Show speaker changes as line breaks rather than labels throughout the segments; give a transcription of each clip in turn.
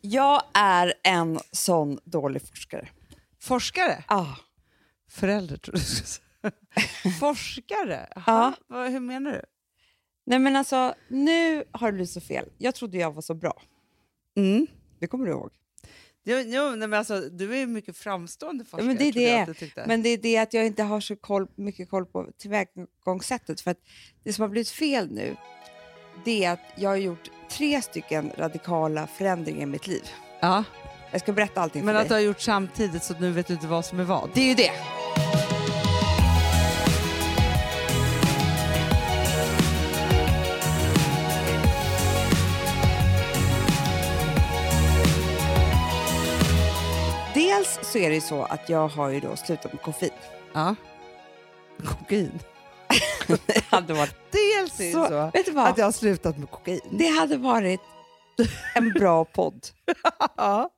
Jag är en sån dålig forskare.
Forskare?
Ah.
Förälder tror du skulle säga. Forskare? Jaha,
Ja.
vad- Hur menar du?
Nej men alltså, nu har det blivit så fel. Jag trodde jag var så bra.
Mm.
Det kommer du ihåg.
Jo, jo, nej, men alltså, du är ju mycket framstående forskare.
men det är
trodde jag
det.
att du tyckte.
Men det är det att jag inte har så koll, mycket koll på tillvägagångssättet. För att det som har blivit fel nu, det är att jag har gjort tre stycken radikala förändringar i mitt liv.
ja.
Jag ska berätta allting
men
för
att du
dig.
har gjort samtidigt så att nu vet du inte vad som är vad.
Det är ju det. Dels så är det ju så att jag har ju då slutat med koffein.
Ja. Kokain.
Det hade varit
Dels är det så,
så. Vet du vad?
att jag har slutat med kokain.
Det hade varit en bra podd.
Ja,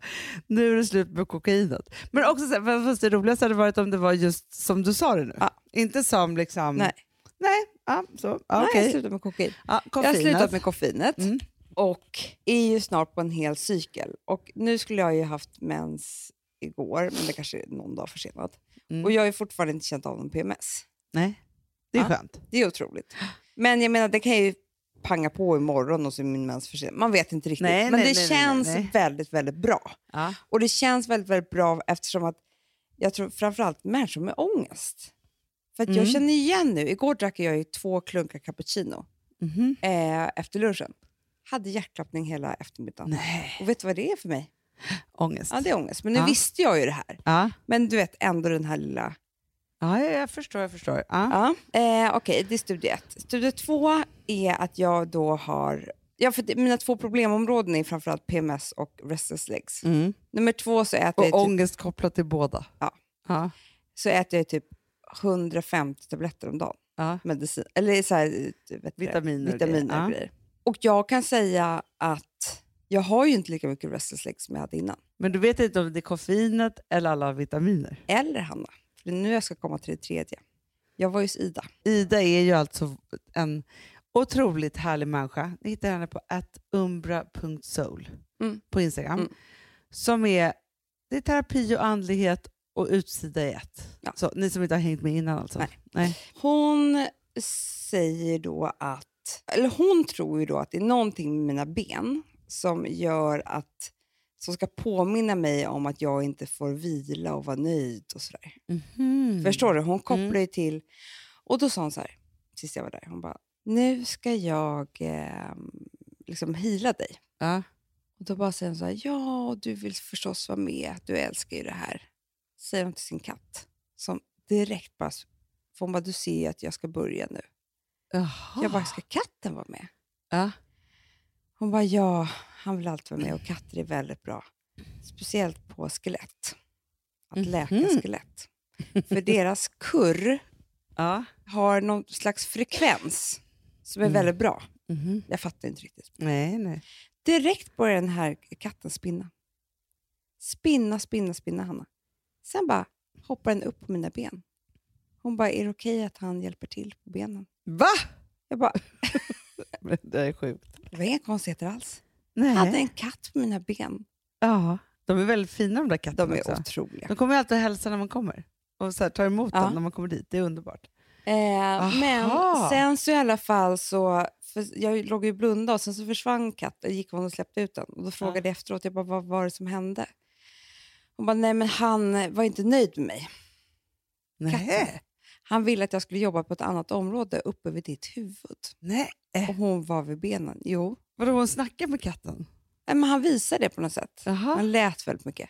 nu är det slut med kokainet. Men också så här, fast det roligaste hade varit om det var just som du sa det nu.
Ja.
Inte som liksom...
Nej.
Nej, ja, så. Ja,
Nej, jag har
okej.
slutat med kokain.
Ja,
Jag har
koffeinet.
slutat med koffeinet
Mm.
och är ju snart på en hel cykel. Och nu skulle jag ju haft mens igår, men det kanske är någon dag försenat.
Mm.
Och jag har ju fortfarande inte känt av någon PMS.
Nej, det är
Ja.
skönt.
Det är otroligt. Men jag menar, det kan ju panga på imorgon och så är min mens försenad. Man vet inte riktigt.
Nej,
men
nej,
det
nej, nej,
känns
nej.
väldigt, väldigt bra.
Ja.
Och det känns väldigt, väldigt bra eftersom att jag tror framförallt människor med ångest. För att jag
Mm.
känner igen nu, igår drack jag ju två klunkar cappuccino
Mhm.
eh, efter lunchen. Hade hjärtklappning hela eftermiddagen.
Nej,
Och vet du vad det är för mig?
ångest.
Ja, det är ångest. Men nu
Ja.
visste jag ju det här.
ja.
Men du vet, ändå den här lilla...
ja, jag förstår. Jag förstår. Ja.
Ja. Eh, Okej, det är studie ett. Studie två är att jag då har... Ja, för det, mina två problemområden är framförallt PMS och restless legs.
Mm.
Nummer två så äter, jag
Och
typ,
ångest kopplat till båda.
Ja.
Ja.
så äter jag typ 150 tabletter om dagen.
Ja.
medicin, eller så här, vet du,
Vitaminer och
vitaminer
grejer.
och
Ja.
grejer. Och jag kan säga att jag har ju inte lika mycket restless legs som jag hade innan.
Men du vet inte om det är koffeinet eller alla vitaminer.
Eller Hanna, för det är nu jag ska komma till det tredje. Jag var hos Ida.
Ida är ju alltså en otroligt härlig människa. Ni hittar henne på umbra.soul
Mm.
på Instagram.
Mm.
Som är, det är terapi och andlighet och utsida i ett.
Ja.
Så, ni som inte har hängt med innan alltså.
Nej. Hon säger då att, eller hon tror ju då att det är någonting med mina ben som gör att, som ska påminna mig om att jag inte får vila och vara nöjd och sådär.
Mhm.
Förstår du? Hon kopplar
Mm.
ju till... Och då sa hon så här, sist jag var där, hon bara, nu ska jag eh, liksom hila dig.
Ja.
Och då bara säger hon så här, ja, du vill förstås vara med, du älskar ju det här. Säger hon till sin katt, som direkt bara, s- för hon bara, du ser ju att jag ska börja nu.
Jaha.
Jag bara, ska katten vara med?
Ah. Ja.
Hon bara, ja, han vill alltid vara med och katter är väldigt bra. Speciellt på skelett. Att läka
Mhm.
skelett. För deras kurr
Ja.
har någon slags frekvens som är
Mm.
väldigt bra.
Mhm.
Jag fattar inte riktigt.
Nej, nej.
Direkt börjar den här katten spinna. Spinna, spinna, spinna, Hanna. Sen bara hoppar den upp på mina ben. Hon bara, är det okej att han hjälper till på benen?
Va?
Jag bara,
Men Det är sjukt.
det var inga konstigheter alls.
Nej.
Jag hade en katt på mina ben.
Ja. De är väldigt fina de där katterna
De är
också.
otroliga.
Alltså. De kommer ju alltid och hälsa när man kommer. Och så här, tar emot
Ja.
en när man kommer dit. Det är underbart.
Eh, men
Aha.
sen så i alla fall så, för jag låg ju blunda och sen så försvann katten, gick hon och släppte ut den. Och då frågade jag efteråt, jag bara, vad var det som hände? Hon bara, nej men han var inte nöjd med mig.
Nej.
Han ville att jag skulle jobba på ett annat område uppe vid ditt huvud.
nej.
Och hon var vid benen. Jo,
Vadå, hon snackar med katten?
Nej, men han visade det på något sätt.
Jaha.
Han lät väldigt mycket.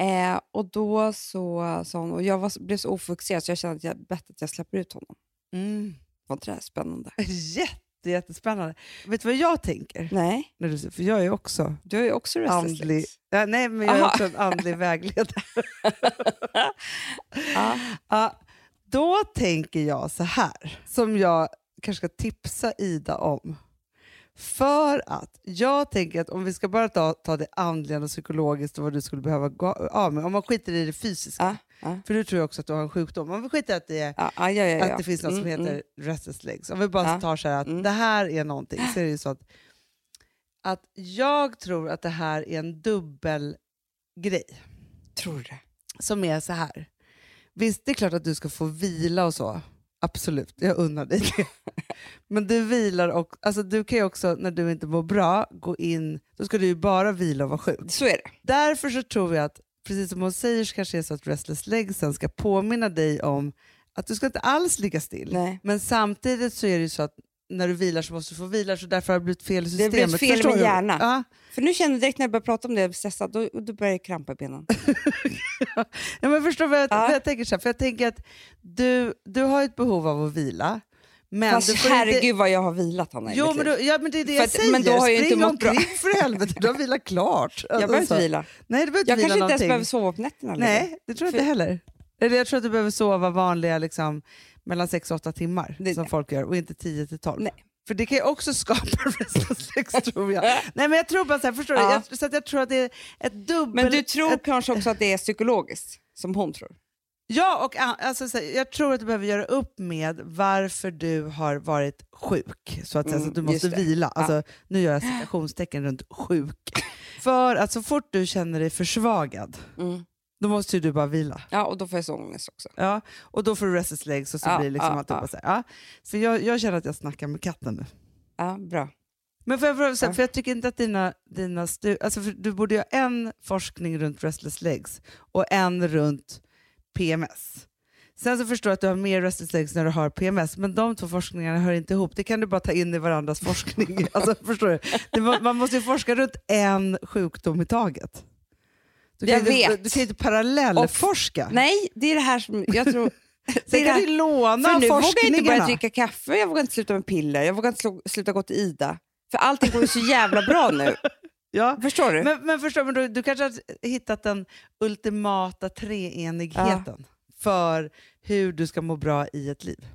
Eh, och då så sa hon, och jag var, blev så ofokuserad så jag kände att jag bättre att jag släpper ut honom.
Mm.
Var inte det här spännande?
Jätte, jättespännande. Vet du vad jag tänker?
Nej,
När du, för jag är ju också
du har ju också restless
andlig...
legs.
Ja, nej, men jag är
Aha.
också en andlig vägledare.
Ja.
Ja, då tänker jag så här, som jag kanske ska tipsa Ida om. För att jag tänker att om vi ska bara ta, ta det andliga och psykologiskt och vad du skulle behöva gå av med. Om man skiter i det fysiska.
Ja, ja.
För du tror jag också att du har en sjukdom. Om vi skiter i att det är
Ja, ja, ja, ja, ja.
att det finns något som
Mm,
heter
mm.
restless legs. Om vi bara
Ja.
tar så här att
Mm.
det här är någonting så är det ju så att att jag tror att det här är en dubbel grej
Tror det.
som är så här. Visst, det är klart att du ska få vila och så. Absolut, jag unnar dig det. Men du vilar och, alltså du kan ju också när du inte mår bra gå in, då ska du ju bara vila och vara sjuk.
Så är det.
Därför så tror jag att, precis som hon säger, så kanske det är så att Restless Legs sen ska påminna dig om att du ska inte alls ligga still.
Nej.
Men samtidigt så är det ju så att när du vilar så måste du få vila, så därför har det blivit fel i
har
systemet.
blivit fel
Förstår
med
du?
hjärnan.
Ja.
För nu känner jag direkt när jag börjar prata om det, jag blir stressad, då, då börjar jag krampa i benen.
Ja, men förstår vad jag,
Ja.
vad jag tänker? Så här, för jag tänker att du, du har ett behov av att vila. Men du
Fast
får
herregud
Inte,
vad jag har vilat Hanna i
jo,
mitt
men,
liv.
du, ja, men det är det
För
jag
att-
säger.
men då har jag ju
Spring
inte mått bra.
omkring för helvete, du har vilat klart.
Jag behöver inte
så-
vila.
Nej, alltså, du behöver inte
Jag
vila
kanske inte ens
någonting.
behöver sova på nätterna. längre.
Nej, det tror jag inte heller. Eller jag tror att du behöver sova vanliga liksom, mellan 6 och 8 timmar
Det-
som folk gör och inte 10 till 12.
Nej.
För det kan ju också skapa restlesslegs tror jag. Nej men jag tror bara så här, förstår
Ja.
du? Jag, så att jag tror att det är ett dubbel...
Men du tror kanske också att det är psykologiskt, som hon tror.
Ja, och a- alltså, så här, jag tror att du behöver göra upp med varför du har varit sjuk. Så att, säga, så
Mm,
att du måste
just det.
vila. Alltså, Nu gör jag citationstecken runt sjuk. För att så fort du känner dig försvagad, då måste ju du bara vila.
Ja, och då får jag så ångest också.
Ja, och då får du restless legs och så
Ja,
blir det liksom
ja,
alltihopa
ja.
så här. Ja. Så jag, jag känner att jag snackar med katten nu.
Ja, bra.
Men för jag, för,
Ja.
för jag tycker inte att dina, dina studier, alltså för du borde ju ha en forskning runt restless legs och en runt PMS. Sen så förstår jag att du har mer restless legs när du har PMS, men de två forskningarna hör inte ihop. Det kan du bara ta in i varandras forskning. Alltså, förstår du? Det, må- man måste ju forska runt en sjukdom i taget. Du kan,
Jag
ju inte,
vet.
du kan ju inte parallellforska.
Nej, det är det här som... Jag tror, det är det
Sen kan
här,
du låna
för nu vågar jag inte börja
forskningarna.
dricka kaffe, jag vågar inte sluta med piller, jag vågar inte slu- sluta gå till Ida. För allting går ju så jävla bra nu.
Ja.
Förstår du?
Men, men förstår men du, du kanske har hittat den ultimata treenigheten för hur du ska må bra i ett liv.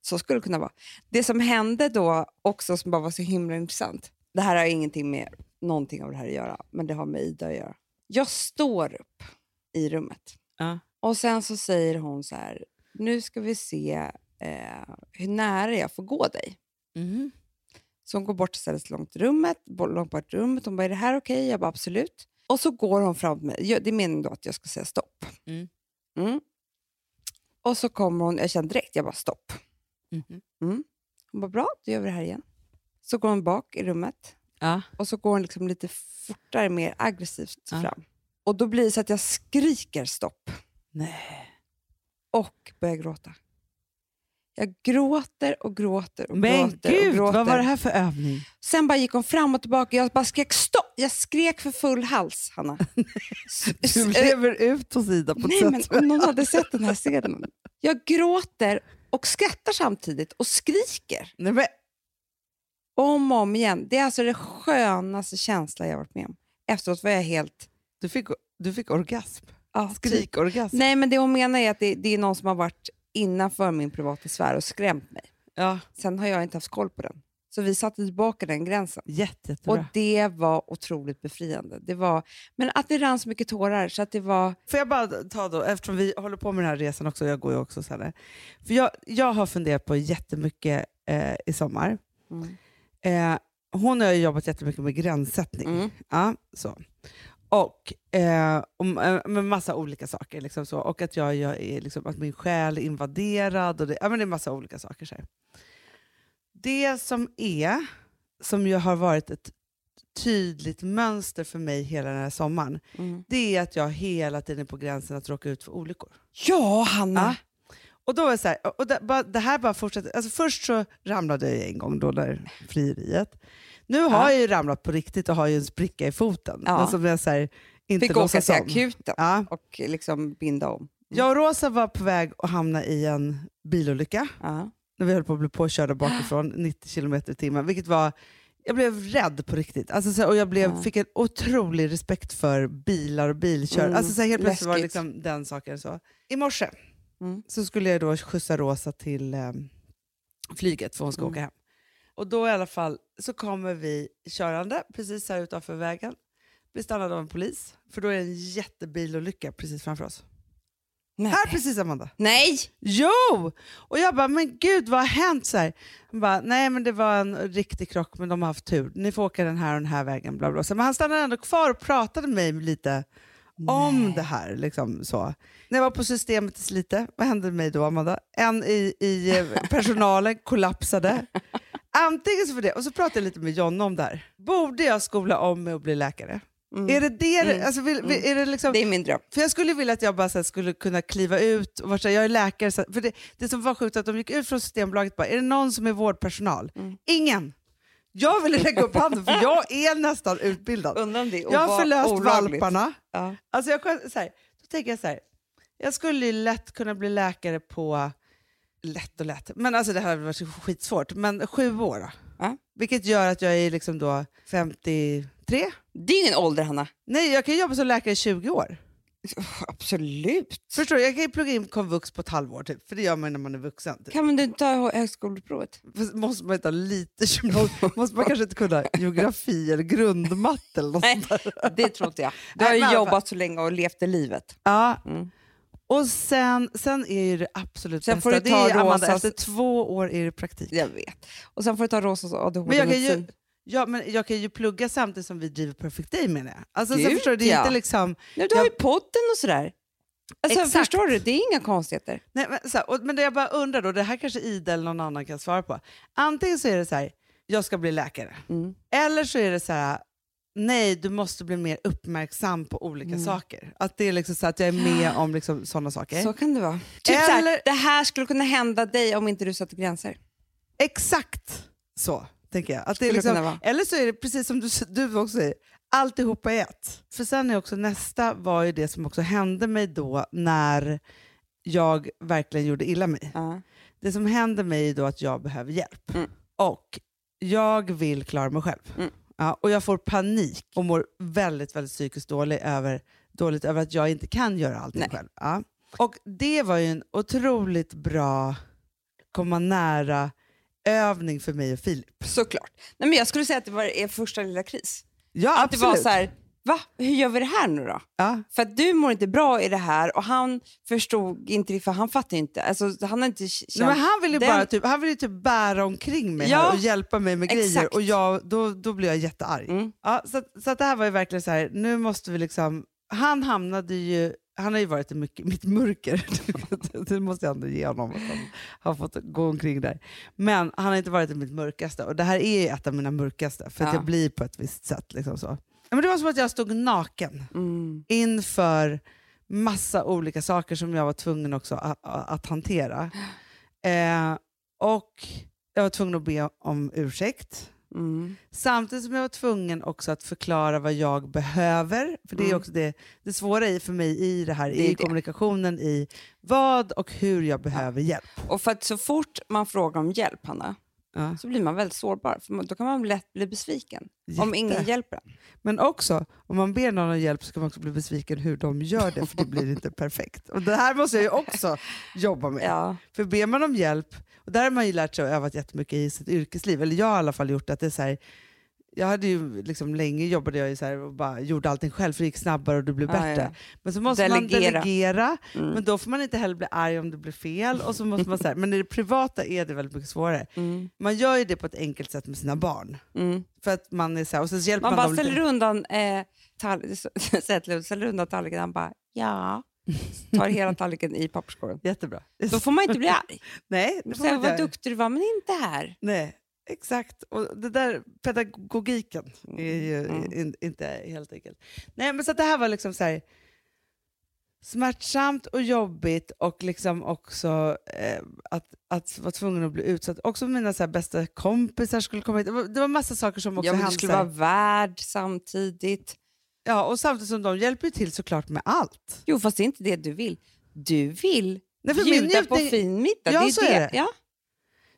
Så skulle det kunna vara. Det som hände då också som bara var så himla intressant. Det här har ingenting med någonting av det här att göra, men det har med Ida att göra. Jag står upp i rummet
Ja.
och sen så säger hon så här, nu ska vi se eh, hur nära jag får gå dig.
Mm-hmm.
Så hon går bort och ställer sig långt, i rummet, bo- långt bort i rummet. Hon bara, är det här okej? Jag bara, absolut. Och så går hon fram till mig. Jag- Det är meningen då att jag ska säga stopp.
Mm.
Mm. Och så kommer hon, jag känner direkt, jag bara stopp.
Mm-hmm.
Hon bara, bra, då gör vi det här igen. Så går hon bak i rummet
Ja.
och så går hon liksom lite fortare, mer aggressivt
Ja.
fram. Och då blir det så att jag skriker stopp
Nej.
och börjar gråta. Jag gråter och gråter och
Men
gråter och
gud,
gråter.
vad var det här för övning?
Sen bara gick hon fram och tillbaka. Jag bara skrek stopp. Jag skrek för full hals, Hanna. S- s- eh,
Du lever ut hos Ida på
Nej,
ett
men
sätt.
om någon hade sett den här scenen. Jag gråter och skrattar samtidigt och skriker
Nej, men,
om och om igen. Det är alltså det skönaste känslan jag varit med om. Efteråt var jag helt...
du, fick, du fick orgasm.
Ja, typ.
Skrikorgasm.
Nej, men det hon menar är att det, det är någon som har varit innanför min privata sfär och skrämt mig.
Ja.
Sen har jag inte haft koll på den. Så vi satte tillbaka den gränsen.
Jätte, jättebra.
Och det var otroligt befriande. Det var, men att det rann så mycket tårar så att det var...
Får jag bara ta då, eftersom vi håller på med den här resan också, jag går ju också så här. För jag, jag har funderat på jättemycket eh, i sommar.
Mm.
Eh, hon har ju jobbat jättemycket med gränssättning.
Mm.
Ja, så. Och, eh, om, eh, med massa olika saker. Liksom så. Och att, jag, jag är, liksom, att min själ är invaderad. Och det, ja, men det är massa olika saker. Så här. Det som är, som ju har varit ett tydligt mönster för mig hela den här sommaren, det är att jag hela tiden är på gränsen att råka ut för olyckor.
Ja, Hanna!
Ja. Och då var det så här, och det, bara, det här bara fortsätter. Alltså först så ramlade jag en gång då där frieriet. Nu har
Ja.
jag ju ramlat på riktigt och har ju en spricka i foten.
Ja.
Men som jag så här, inte
Fick åka
låtsas
till
om.
akuten
Ja.
och liksom binda om.
Jag och Rosa var på väg att hamna i en bilolycka
Ja.
när vi höll på att bli påkörda bakifrån 90 km i timmen. Vilket var, jag blev rädd på riktigt. Alltså, så, här, och jag blev,
Ja.
fick en otrolig respekt för bilar och bilkör.
Mm,
Alltså, så, här, helt plötsligt var det
läskigt.
liksom den saken. Så. I morse
Mm.
så skulle jag då skjutsa Rosa till eh, flyget för hon ska
Mm.
åka hem. Och då i alla fall så kommer vi körande precis här utanför vägen. Blir stannade av en polis, för då är det en jättebilolycka precis framför oss.
Nej.
Här precis Amanda.
Nej!
Jo! Och jag bara, men gud vad har hänt? Så här. Han bara, nej men det var en riktig krock men de har haft tur. Ni får åka den här och den här vägen. Bla, bla. Så, men han stannade ändå kvar och pratade med mig lite om det här. Liksom, så. När jag var på systemet i Slite, vad hände med mig då Amanda? En i, i eh, personalen kollapsade. Antingen så för det, och så pratade jag lite med Jonna om det här. Borde jag skola om mig och bli läkare?
Mm.
Är det det? Alltså, vill, vill, är det liksom,
Det är min dröm.
för jag skulle vilja att jag bara så här, skulle kunna kliva ut och vara så här, jag är läkare. Så, för det, det som var sjukt var att de gick ut från Systembolaget bara, är det någon som är vårdpersonal? Ingen! Jag ville lägga upp handen för jag är nästan utbildad.
Undrar om det är
Jag
oba-
har förlöst
olagligt.
valparna.
Ja.
Alltså jag, kan- så här, då tänker jag så här, jag skulle ju lätt kunna bli läkare på, lätt och lätt, men alltså det här hade varit skitsvårt, men sju år då.
Ja.
Vilket gör att jag är liksom då 53.
Det är ingen ålder, Hanna.
Nej, jag kan jobba som läkare i 20 år.
Absolut.
Förstår du? Jag kan ju plugga in komvux på ett halvår typ, för det gör man när man är vuxen. Typ.
Kan du inte ta högskoleprovet?
Fast Måste man inte ha lite gymnasium? Måste man kanske inte kunna geografi eller grundmatte eller något
Nej.
sånt där?
Det tror inte jag. Du har
Nej,
ju
men i alla fall.
jobbat så länge och levt det livet.
Ja.
Mm.
Och sen, sen är ju det absolut
Sen får
bästa,
du ta
det är ju, Amanda,
Rosas-
efter två år är det praktik.
Jag vet. Och sen får du ta Rosas
Men jag, kan ju,
ADHD-medicin.
ja, men jag kan ju plugga samtidigt som vi driver Perfect Day menar jag. Alltså, så
Gud,
förstår du, det är
ja.
inte liksom...
Nej, Du har ju podden och sådär. Alltså,
Exakt.
förstår du? Det är inga konstigheter.
Nej, men, så här, och, men det jag bara undrar då, det här kanske Ida eller någon annan kan svara på. Antingen så är det så här, jag ska bli läkare.
Mm.
Eller så är det så här, nej du måste bli mer uppmärksam på olika
Mm.
saker. Att det är liksom så att jag är med om liksom sådana saker.
Så kan det vara. Typ
Eller-
såhär, det här skulle kunna hända dig om inte du satte gränser.
Exakt så tänker jag. Att det är
Skulle kunna
liksom,
vara.
eller så är det precis som du, du också säger, alltihopa i ett. För sen är också nästa var ju det som också hände mig då när jag verkligen gjorde illa mig.
Ja.
Det som händer mig är då att jag behöver hjälp.
Mm.
Och jag vill klara mig själv.
Mm.
Ja, och jag får panik och mår väldigt, väldigt psykiskt dålig över, dåligt över att jag inte kan göra allting
Nej.
själv. Ja. Och det var ju en otroligt bra komma nära övning för mig och Filip.
Såklart. Nej, men jag skulle säga att det var er första lilla kris.
Ja,
Att det var så här, va? Hur gör vi det här nu då?
Ja.
För att du mår inte bra i det här och han förstod inte det, för han fattar ju inte. Alltså, han har inte k- känt...
Nej, men han ville ju
den-
bara typ, han ville ju typ bära omkring mig
Ja,
här och hjälpa mig med grejer
exakt.
och jag, då, då blev jag jättearg.
Mm.
Ja, så att- så att det här var ju verkligen så här, nu måste vi liksom, han hamnade ju, han har ju varit i mycket, mitt mörker, det måste jag ändå ge honom, att han har fått gå omkring där. Men han har inte varit i mitt mörkaste och det här är ju ett av mina mörkaste för att
Ja.
jag blir på ett visst sätt. Liksom så. Ja, Men det var som att jag stod naken
Mm.
inför massa olika saker som jag var tvungen också att, att hantera. Eh, och jag var tvungen att be om ursäkt.
Mm.
Samtidigt som jag var tvungen också att förklara vad jag behöver. För det är
Mm.
också det, det svåra i, för mig i det här,
Det är
i
det.
kommunikationen i vad och hur jag behöver hjälp.
Och för att så fort man frågar om hjälp, Hanna,
Ja.
så blir man väldigt sårbar. För man- då kan man lätt bli besviken om
Jätte.
ingen hjälper en.
Men också, om man ber någon om hjälp så kan man också bli besviken hur de gör det, för det blir inte perfekt. Och det här måste jag ju också jobba med.
Ja.
För ber man om hjälp, och där har man ju lärt sig och övat jättemycket i sitt yrkesliv, eller jag har i alla fall gjort att det är så här, jag hade ju liksom länge jobbade jag ju så här och bara gjorde allting själv för det gick snabbare och det blev
Ja,
bättre.
ja.
Men så måste man
Delegera.
delegera,
Mm.
men då får man inte heller bli arg om det blir fel. Och så måste man så här, men i det privata är det väldigt mycket svårare.
Mm.
Man gör ju det på ett enkelt sätt med sina barn.
Mm.
För att man är så här, och sen så hjälper
Man
man,
bara
dem lite.
ställer undan, eh, tall- Zetterlund ställer undan tallriken han bara ja. Tar hela tallriken i papperskorgen.
Jättebra.
Då får man inte bli arg.
Nej, det får man
Säga
inte
vad
göra.
duktig du var, men inte här.
Nej, exakt. Och det där pedagogiken är ju
Mm.
in, inte helt enkelt. Nej, men så att det här var liksom så här smärtsamt och jobbigt och liksom också eh, att, att vara tvungen att bli utsatt. Också mina så här bästa kompisar skulle komma hit. Det var, det var massa saker som också
Ja, men du
hände.
skulle
så
vara
här.
värd samtidigt.
Ja, och samtidigt som de hjälper ju till såklart med allt.
Jo, fast det är inte det du vill. Du vill
Nej, för min
bjuda på
njutning-
fin middag.
Ja,
det är
så
det.
är det.
Ja.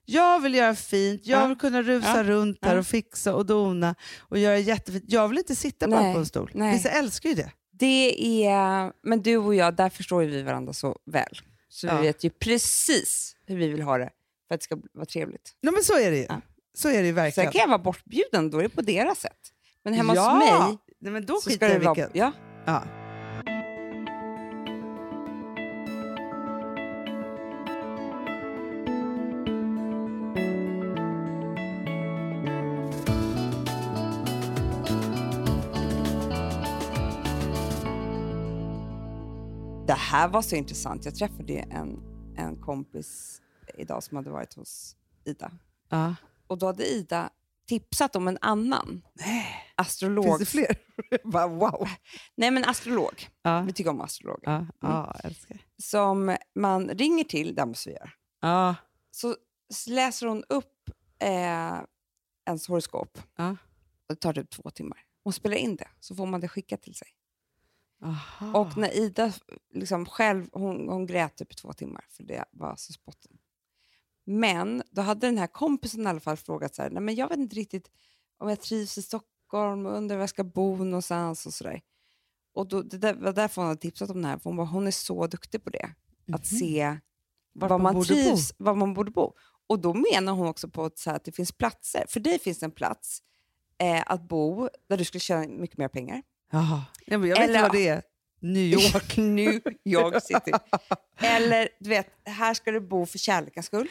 Jag vill göra fint, jag
Ja.
vill kunna rusa
Ja.
runt här
Ja.
och fixa och dona och göra jättefint. Jag vill inte sitta bara
Nej.
på en stol.
Nej.
Vissa älskar ju det.
det är... Men du och jag, där förstår ju vi varandra så väl. Så
Ja.
vi vet ju precis hur vi vill ha det för att det ska vara trevligt.
Nej, men så är det ju.
Ja.
Så är det ju
Sen
verkligen.
kan jag vara bortbjuden, då är det på deras sätt. Men hemma
ja.
hos mig
Nej, men då
så
skiter
ska
jag
det
i
vara...
vilket.
Ja.
Ja.
Det här var så intressant. Jag träffade ju en, en kompis idag som hade varit hos Ida.
Ja.
Och då hade Ida tipsat om en annan
Nej.
astrolog.
Finns det fler? Bara, wow.
Nej, men astrolog.
Ja.
Vi tycker om astrologer.
Ja, ja, älskar.
Som man ringer till, det här måste vi göra.
Ja,
Så s- läser hon upp eh, ens horoskop.
ja.
Och det tar typ två timmar. Hon spelar in det, så får man det skickat till sig.
Aha.
Och när Ida liksom själv, hon, hon grät typ i två timmar för det var så spotten. Men då hade den här kompisen i alla fall frågat så här, nej men jag vet inte riktigt om jag trivs i Stockholm och undrar var jag ska bo någonstans och sådär. Och då, det där, var därför hon hade tipsat om det här, för hon bara, hon är så duktig på det. Att se var,
Vart Mhm. man
man
borde
trivs, var man borde bo. Och då menar hon också på att, så här, att det finns platser. För dig finns det en plats eh, att bo där du skulle tjäna mycket mer pengar.
Jaha. Ja, men jag vet
Eller-
inte vad det är. New York.
New York City. Eller du vet, här ska du bo för kärlekens skull.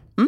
Mm.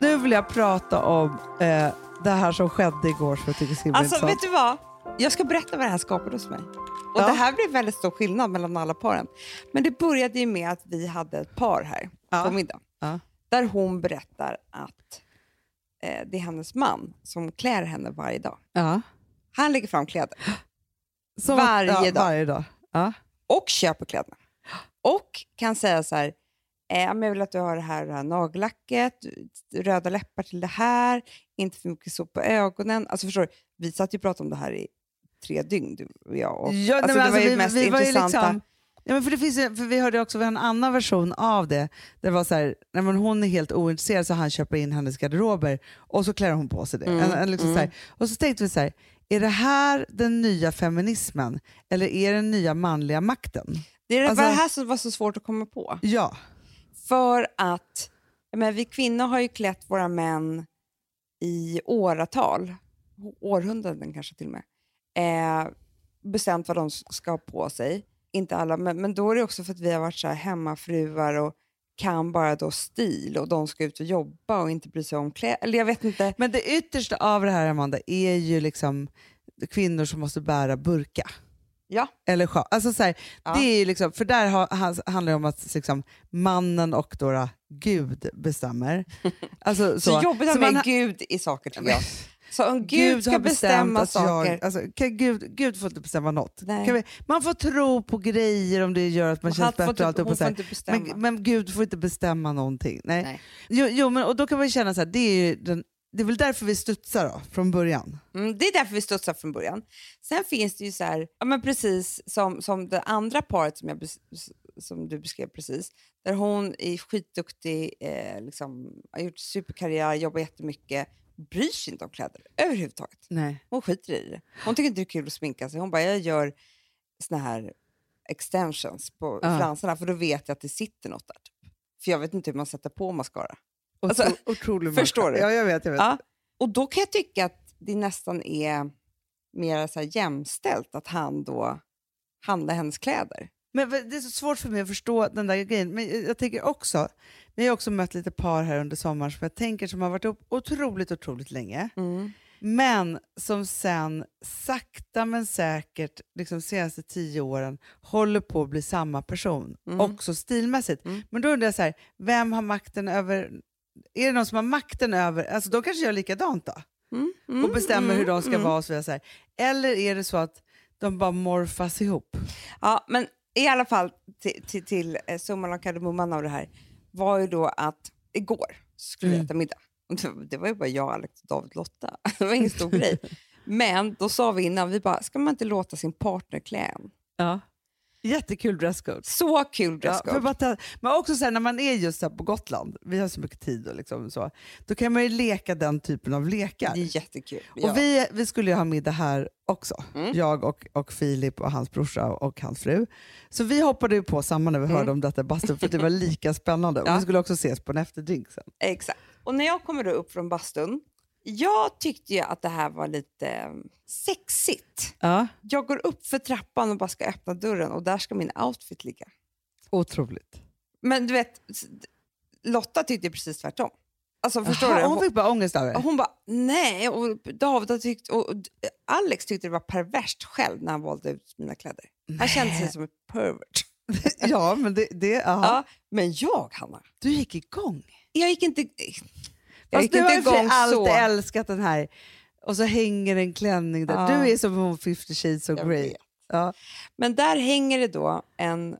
Nu vill jag prata om eh, det här som skedde igår som jag tycker är så himla
Alltså,
intressant.
vet du vad? Jag ska berätta vad det här skapade hos mig. Och
Ja.
Det här blev väldigt stor skillnad mellan alla paren. Men det började ju med att vi hade ett par här
Ja.
på middag.
Ja.
Där hon berättar att eh, det är hennes man som klär henne varje dag.
Ja.
Han lägger fram kläder
Som
Varje
ja,
dag.
Varje dag. Ja.
och köper kläderna. Och kan säga så här, eh, men jag vill att du har det här, och det här nagellacket, röda läppar till det här, inte för mycket så på ögonen. Alltså förstår du, vi satt ju och pratade om det här i tre dygn, du och jag. Och,
Ja, nej,
alltså,
men
det var ju
vi-
mest
vi var ju
intressanta.
liksom- Ja, men för, det finns, ju- för Vi hörde också vi har en annan version av det. Där det var så här, nej, men hon är helt ointresserad så han köper in hennes garderober och så klär hon på sig det. En, en, liksom så här, och så tänkte vi så här, är det här den nya feminismen eller är det den nya manliga makten?
Det är det
Alltså-
var det här som var så svårt att komma på.
Ja.
För att jag menar, vi kvinnor har ju klätt våra män i åratal, århundraden kanske till och med, eh, bestämt vad de s- ska ha på sig. Inte alla, men, men då är det också för att vi har varit så här hemmafruar och kan bara då stil och de ska ut och jobba och inte bry sig om kläder. Eller jag vet inte.
Men det yttersta av det här Amanda är ju liksom kvinnor som måste bära burka.
Ja,
Eller sjal. Alltså så här,
Ja.
det är ju liksom, för där har, han- handlar det om att liksom, mannen och då, då, Gud bestämmer. Alltså,
så,
så.
jobbigt
Så
att ha
man-
med Gud i saker tycker jag. Så om Gud, ska
har bestämt
bestämma
att
saker.
Jag, alltså, kan Gud, Gud får inte bestämma något.
Nej.
Kan vi, man får tro på grejer om det gör att man
han
känns
får
bättre.
inte-
och allt
hon
och så här.
får inte bestämma.
men, men Gud får inte bestämma någonting. Nej.
Nej.
Jo, jo, men, och då kan man ju känna så här, det är, ju den, det är väl därför vi studsar då, från början.
Mm, det är därför vi studsar från början. Sen finns det ju så här, ja, men precis som, som det andra paret som, jag, bes- som du beskrev precis, där hon är skitduktig, eh, liksom, har gjort superkarriär, jobbar jättemycket, bryr sig inte om kläder överhuvudtaget.
Nej.
Hon skiter i det. Hon tycker inte det är kul att sminka sig. Hon bara, jag gör såna här extensions på
Ja.
fransarna för då vet jag att det sitter något där. typ. För jag vet inte hur man sätter på mascara.
Alltså,
Alltså,
otrolig
förstår
människa.
du?
Ja, jag vet. Jag vet.
Ja. Och då kan jag tycka att det nästan är mer så här jämställt att han då handlar hennes kläder.
Men v- det är så svårt för mig att förstå den där grejen. Men jag- jag tänker också, vi har ju också mött lite par här under sommaren som jag tänker som har varit upp otroligt, otroligt länge. Men som sen sakta men säkert, liksom senaste tio åren, håller på att bli samma person. Också stilmässigt.
Mm.
Men då undrar jag så här, vem har makten över... Är det någon som har makten över... Alltså de kanske gör likadant då?
Mm,
Och bestämmer hur de ska vara och så vidare. Så här. Eller är det så att de bara morfas ihop?
Ja, men i alla fall till, till, till eh, summan och kardemumman av det här var ju då att igår skulle
Mm.
vi äta middag. Och det- Det var ju bara jag, Alex, David och Lotta. Det var ingen stor grej. Men då sa vi innan, vi bara, ska man inte låta sin partner klä en?
Ja. Jättekul dresscode.
Så kul
Ja,
dresscode.
för bara ta, men också så här, när man är just här på Gotland, vi har så mycket tid och liksom så, då kan man ju leka den typen av lekar.
det är jättekul. Ja. Mm.
Och vi, vi skulle ju ha middag här också, jag och, och Filip och hans brorsa och hans fru. Så vi hoppade ju på samma när vi
Mm.
hörde om detta i bastun för det var lika spännande. Och vi skulle också ses på en efterdrink sen.
Exakt. Och när jag kommer då upp från bastun, jag tyckte ju att det här var lite eh, sexigt.
Ja.
Jag går upp för trappan och bara ska öppna dörren och där ska min outfit ligga.
Otroligt.
Men du vet, s- Lotta tyckte precis tvärtom. Alltså förstår
Jaha,
du?
Hon
Hon,
fick bara ångest av det.
hon bara, nej. Och David har tyckt, och och Alex tyckte det var perverst själv när han valde ut mina kläder. Han kände sig som en pervert.
Ja, men det, det ja.
Ja, men jag, Hanna,
Du gick igång.
jag gick inte, jag
Fast
gick
du
inte
har ju för
igång
allt
så.
älskat den här och så hänger en klänning där.
Ja.
Du är som hon 50 shades of
Jag
grey.
vet.
Ja.
Men där hänger det då en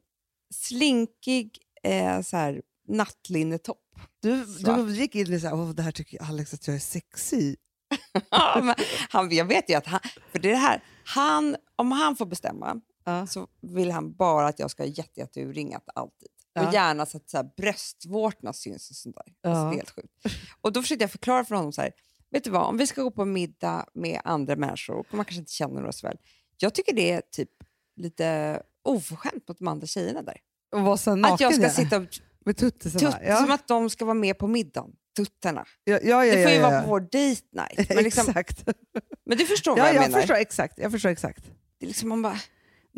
slinkig eh, så här, nattlinnetopp.
Du,
Svart.
du gick in i så här, åh det här tycker Alex att jag är sexy.
Ja, men han, jag vet ju att han, för det är det här, han, om han får bestämma
Ja.
så vill han bara att jag ska ha jätte, jätte urringat alltid.
Ja.
Och gärna så att så här, bröstvårtorna syns och sånt där. Alltså,
Ja.
det är helt sjukt. Och då försökte jag förklara för honom så här, vet du vad, om vi ska gå på middag med andra människor, och man kanske inte känner oss väl, jag tycker det är typ lite oförskämt mot de andra tjejerna där.
Och var så naken
Att jag ska
ja.
sitta och
med tuttisarna.
Tut,
ja.
Som att de ska vara med på middagen. Tuttarna.
ja, ja, ja,
Det får ju
ja, ja.
vara på vår date night. Men, liksom,
exakt.
men du förstår vad
Ja,
jag,
jag
menar.
förstår exakt. Jag förstår exakt.
Det är liksom man bara,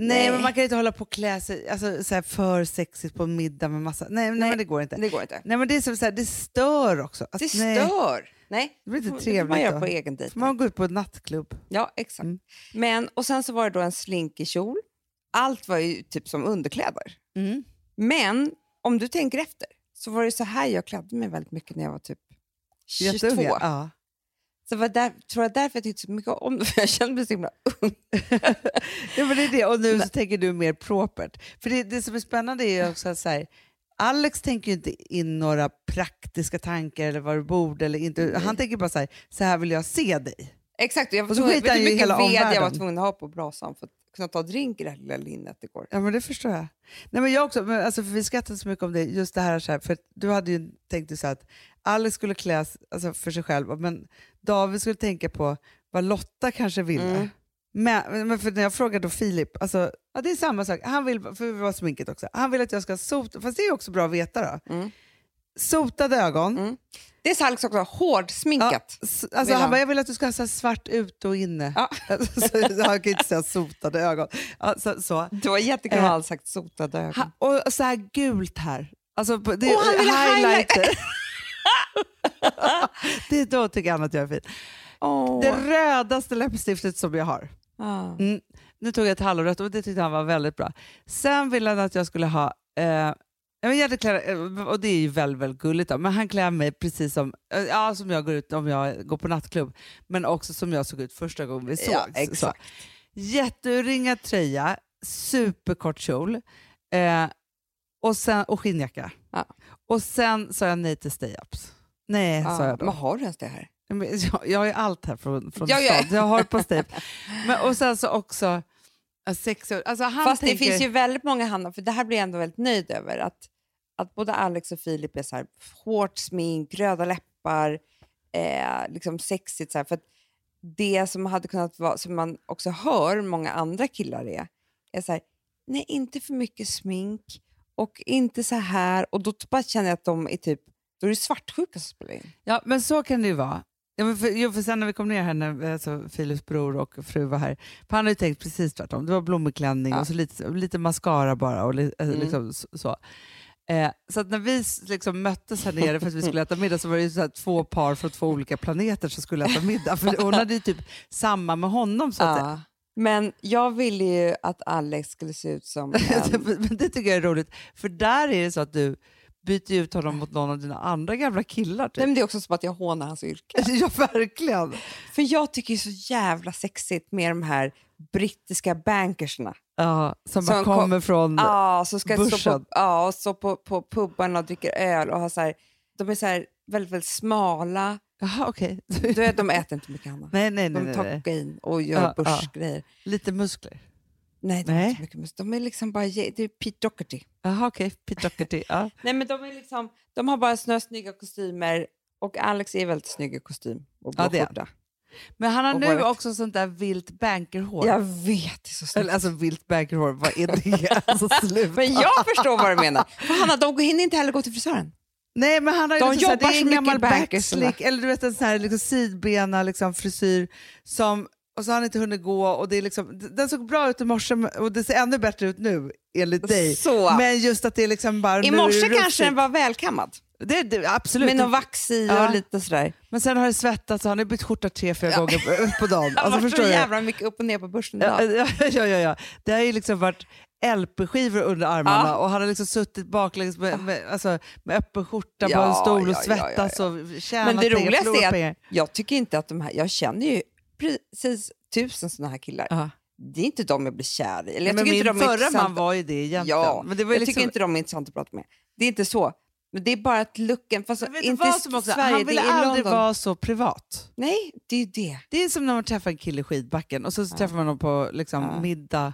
Nej,
Nej.
men man kan ju inte hålla på och klä sig alltså, så här, för sexigt på en middag med massa... Nej, nej,
Nej.
men det går inte.
det går inte.
Nej, men det är som så här, det stör också. Alltså,
Det
nej.
stör. Nej,
Det blir inte
får- det får
trevligt
man
då.
göra på egen dejt.
Får man gå ut på en nattklubb?
Ja, exakt.
Mm.
Men, och sen så var det då en slinkig kjol. Allt var ju typ som underkläder.
Mm.
Men om du tänker efter så var det så här jag klädde mig väldigt mycket när jag var typ 22.
Jätteunga. Ja.
Så var där, tror jag därför jag tyckte så mycket om det, för jag kände mig så himla ung.
Ja, men det är det. Och nu så tänker du mer propert. För det, det som är spännande är ju också att så här, Alex tänker ju inte in några praktiska tankar eller var du bor eller inte. Han tänker bara så här, så här vill jag se dig.
Exakt, och jag
Och
förstod
så
vet
skiter han
du
ju i
hur mycket
hela
ved jag var
omvärlden.
tvungen att ha på brasan för att kunna ta drink i det här lilla linnet igår.
Ja, men det förstår jag. Nej, men jag också, men alltså, för vi skrattade så mycket om det, just det här, så här för att du hade ju tänkt dig så här att Alex skulle kläs alltså, för sig själv, men David skulle tänka på vad Lotta kanske ville.
Mm.
Men, men för när jag frågade då Filip, alltså, ja, det är samma sak, han vill, för vi var sminket också, han vill att jag ska sota, fast det är också bra att veta då.
Mm.
Sotade ögon.
Mm. Det är Salix också, hårdsminkat.
S- Alltså,
Vill
han
han.
bara, jag vill att du ska ha så här svart ute och inne.
Ja.
Alltså, så, han kan ju inte säga sotade ögon. Alltså, så.
Det var jättekul att
Eh.
han sagt sotade ögon.
Ha, och så här gult här. Alltså, på- det,
Åh, han ville
highlighter. det är då tycker han att jag är fin.
Åh.
Det rödaste läppstiftet som jag har.
Ah.
Mm. Nu tog jag ett hallonrött och det tyckte han var väldigt bra. Sen ville han att jag skulle ha eh, ja, men jag hade klär, eh, och det är ju väldigt, väldigt gulligt, då, men han klär mig precis som, eh, ja, som jag går ut om jag går på nattklubb, men också som jag såg ut första gången vi sågs.
Ja,
Så.
exakt.
Jätteuringad tröja, superkort kjol eh, och, sen, och skinnjacka.
Ja.
Och sen sa jag nej till stay-ups. Nej, sa
Ah.
jag då.
Men har du ens det här?
Men Jag, jag har ju allt här från, från
Ja, ja.
stan. Jag har på Steve. Men, och sen så också ja, sex år. Alltså han
Fast
tänker,
det finns ju väldigt många Hanna, för det här blir jag ändå väldigt nöjd över. Att, att både Alex och Filip är så här, hårt smink, röda läppar, eh, liksom sexigt. Så här, för att det som hade kunnat vara, som man också hör många andra killar är, är så här, nej inte för mycket smink och inte så här. Och då bara känner jag att de är typ, då är det svartsjuka som spelar in.
Ja, men så kan det ju vara. Ja, men för, jo, för sen när vi kom ner här, när alltså, Filips bror och fru var här, för han hade ju tänkt precis tvärtom. Det var blommorklänning
Ja.
och så lite, lite mascara bara. Och li, eh,
Mm.
liksom, så- så. Eh, så att när vi s- liksom möttes här nere för att vi skulle äta middag så var det ju så här två par från två olika planeter som skulle äta middag. För hon hade ju typ samma med honom så att säga.
Ja. Men jag ville ju att Alex skulle se ut som en...
Men det tycker jag är roligt, för där är det så att du byter ut honom mot någon av dina andra gamla killar.
Nej,
Typ.
men det är också som att jag hånar hans yrke.
Ja, verkligen.
För jag tycker ju så jävla sexigt med de här brittiska bankersna.
Ja, som
Som
bara
kom-
kommer från...
Ja, som ska stå,
Börsen.
på, ja, och stå på, på pubarna och dricker öl och ha så här, de är så här väldigt, väldigt smala.
Jaha, okej.
Du vet, de äter inte mycket annat.
Nej, nej, nej.
De
nej,
tar
nej.
kokain och gör
Ja, ja.
börsgrejer.
Lite muskler.
Nej, de,
Nej.
Är inte mycket, mus- de är liksom bara, ge- det är Pete Doherty.
Jaha, okej. Pete Doherty. Ja.
Nej, men de, är liksom, de har bara snö, snygga kostymer och Alex är väldigt snygg i kostym och blå
Ja, det är han.
skjorta.
Men han har
Och
nu
håret.
också sånt där vilt bankerhår.
Jag vet, det är så snyggt.
Eller alltså vilt bankerhår, vad är det? Alltså, sluta.
Men jag förstår vad du menar. För Hanna, de hinner inte heller gå till frisören.
Nej, men han har ju
De
liksom så
jobbar
här, det är
så
en
mycket
gammal
i backers,
backslick, eller du vet en sån här liksom sidbena liksom, frisyr som, och så har han inte hunnit gå och det är liksom, d- den såg bra ut i morse men- och det ser ännu bättre ut nu enligt dig.
Så.
Men just att det är liksom bara...
I
nu är
morse
det
kanske den
rufsigt.
var välkammad.
Det, det, absolut.
Med någon vax i och
Ja.
lite sådär.
Men sen har det svettats och han har bytt skjorta tre, fyra gånger på- på dagen.
Det
Alltså,
har varit
förstår
så
du?
jävla mycket upp och ner på börsen
Ja,
idag.
ja, ja, ja, ja. Det har ju liksom varit LP-skivor under armarna
Ja.
och han har liksom suttit baklänges med, med, alltså, med öppen skjorta på
Ja,
en stol och
ja, ja, ja,
svettas och tjänat
Men det
pengar,
roligaste
förlorat
är
pengar.
att jag tycker inte att de här, jag känner ju precis tusen sådana här killar.
Ja.
Det är inte de jag blir kär i. Eller jag
men
tycker
min
inte de är
förra man
intressanta.
var ju det egentligen.
Ja,
men det var ju
jag
liksom,
tycker inte de är intressanta att prata med. Det är inte så. Men det är bara att looken, fast
Men vet du
inte
vad
i
som också,
Sverige,
han ville
det är i
aldrig
London.
vara så privat.
Nej, det är ju det.
Det är som när man träffar en kille i skidbacken och så, träffar man honom på liksom,
Ja.
middag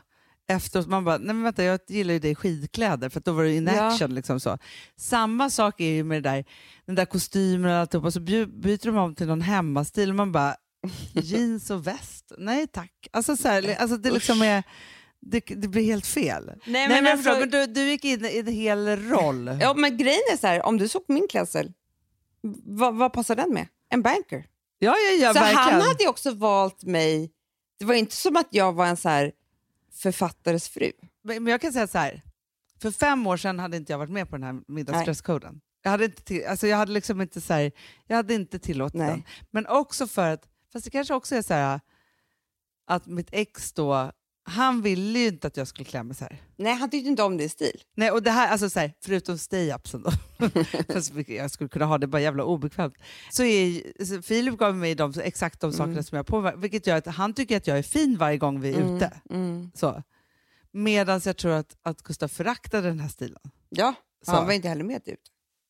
efteråt. Man bara, nej men vänta jag gillar ju dig i skidkläder för att då var du in
Ja.
action. Liksom så. Samma sak är ju med det där, den där kostymen och alltihopa och så bju- byter de om till någon hemmastil och man bara, jeans och väst? Nej tack. Alltså, så här, alltså det liksom är... Det, det blir helt fel. Nej, men,
men
jag förstår,
alltså-
men du, du gick in i en hel roll.
Ja, men grejen är så här, om du såg min klädsel, vad, vad passar den med? En banker.
Ja, ja, ja,
så
verkligen.
han hade ju också valt mig. Det var inte som att jag var en så här författares fru.
Men men jag kan säga så här. För fem år sedan hade inte jag varit med på den här middagsdresskoden. Jag hade inte, till, alltså jag hade liksom inte, så här, jag hade inte tillåtit
Nej.
den. Men också för att, fast det kanske också är så här att mitt ex då han ville ju inte att jag skulle klä mig så här.
Nej, han tyckte inte om din stil.
Nej, och det här, alltså så här, förutom stay-upsen då, fast jag skulle kunna ha det bara jävla obekvämt, så är ju- så Filip gav mig de, exakt de sakerna som jag har på mig, vilket gör att han tycker att jag är fin varje gång vi är ute.
Mm.
Så. Medan jag tror att, att Gustav föraktade den här stilen.
Ja,
Så.
han var inte heller med typ. ut.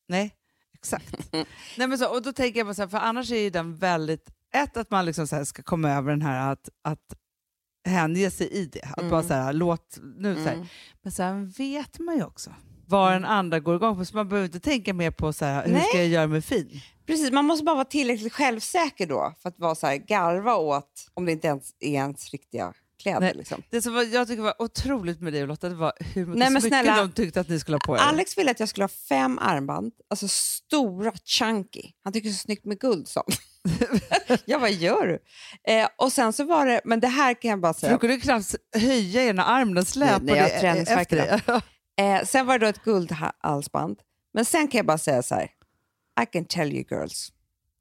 Nej, exakt. Nej, men så, och då tänker jag bara så här, för annars är ju den väldigt, ett att man liksom så här ska komma över den här att, att hänge sig i det, att
Mm.
bara så här, låt, nu så här. Men sen vet man ju också vad den andra går igång på, så man behöver inte tänka mer på så här, hur
Nej.
ska jag göra mig fin?
Precis, man måste bara vara tillräckligt självsäker då för att vara så här, garva åt om det inte ens är ens riktiga kläder.
Nej.
Liksom.
Det som var, jag tycker var otroligt med dig och Lotta, det var hur mycket
Nej, men
smycken
snälla.
de tyckte att ni skulle ha på er.
Alex ville att jag skulle ha fem armband, alltså stora, chunky. Han tycker det är så snyggt med guld, sa han. Jag vad gör du? Eh, och sen så var det, men det här kan jag bara
För du
säga.
kunde knappt höja ena armen, den släpade
Nej, jag har
e-
träningsvärk
efter dig.
Eh, sen var det då ett guldhalsband. Men sen kan jag bara säga så här. I can tell you girls.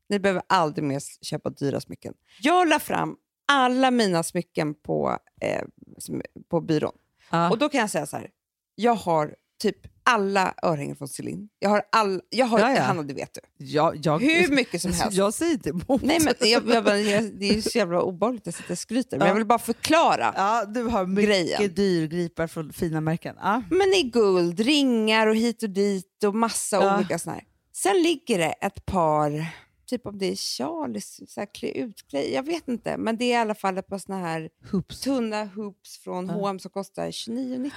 Ni behöver aldrig mer s- köpa dyra smycken. Jag la fram alla mina smycken på, eh, som- på byrån.
Ja.
Och då kan jag säga så här. Jag har typ alla örhängen från Celine. Jag har all, jag har,
Ja, ja.
Hanna det vet du.
Jag, jag,
Hur mycket som helst.
Jag säger inte emot.
Nej, men jag, jag, bara- jag, det är ju så jävla obehagligt att sitta och skryter, men jag vill bara förklara.
Ja, du har mycket
Grejen.
dyrgripar från fina märken. Ja.
Men i guld, ringar och hit och dit och massa
Ja.
olika såna här. Sen ligger det ett par, typ om det är Charlies så här, klä ut, klä, jag vet inte, men det är i alla fall ett par såna här
Hoops.
tunna hoops från H&M som kostar 29,90.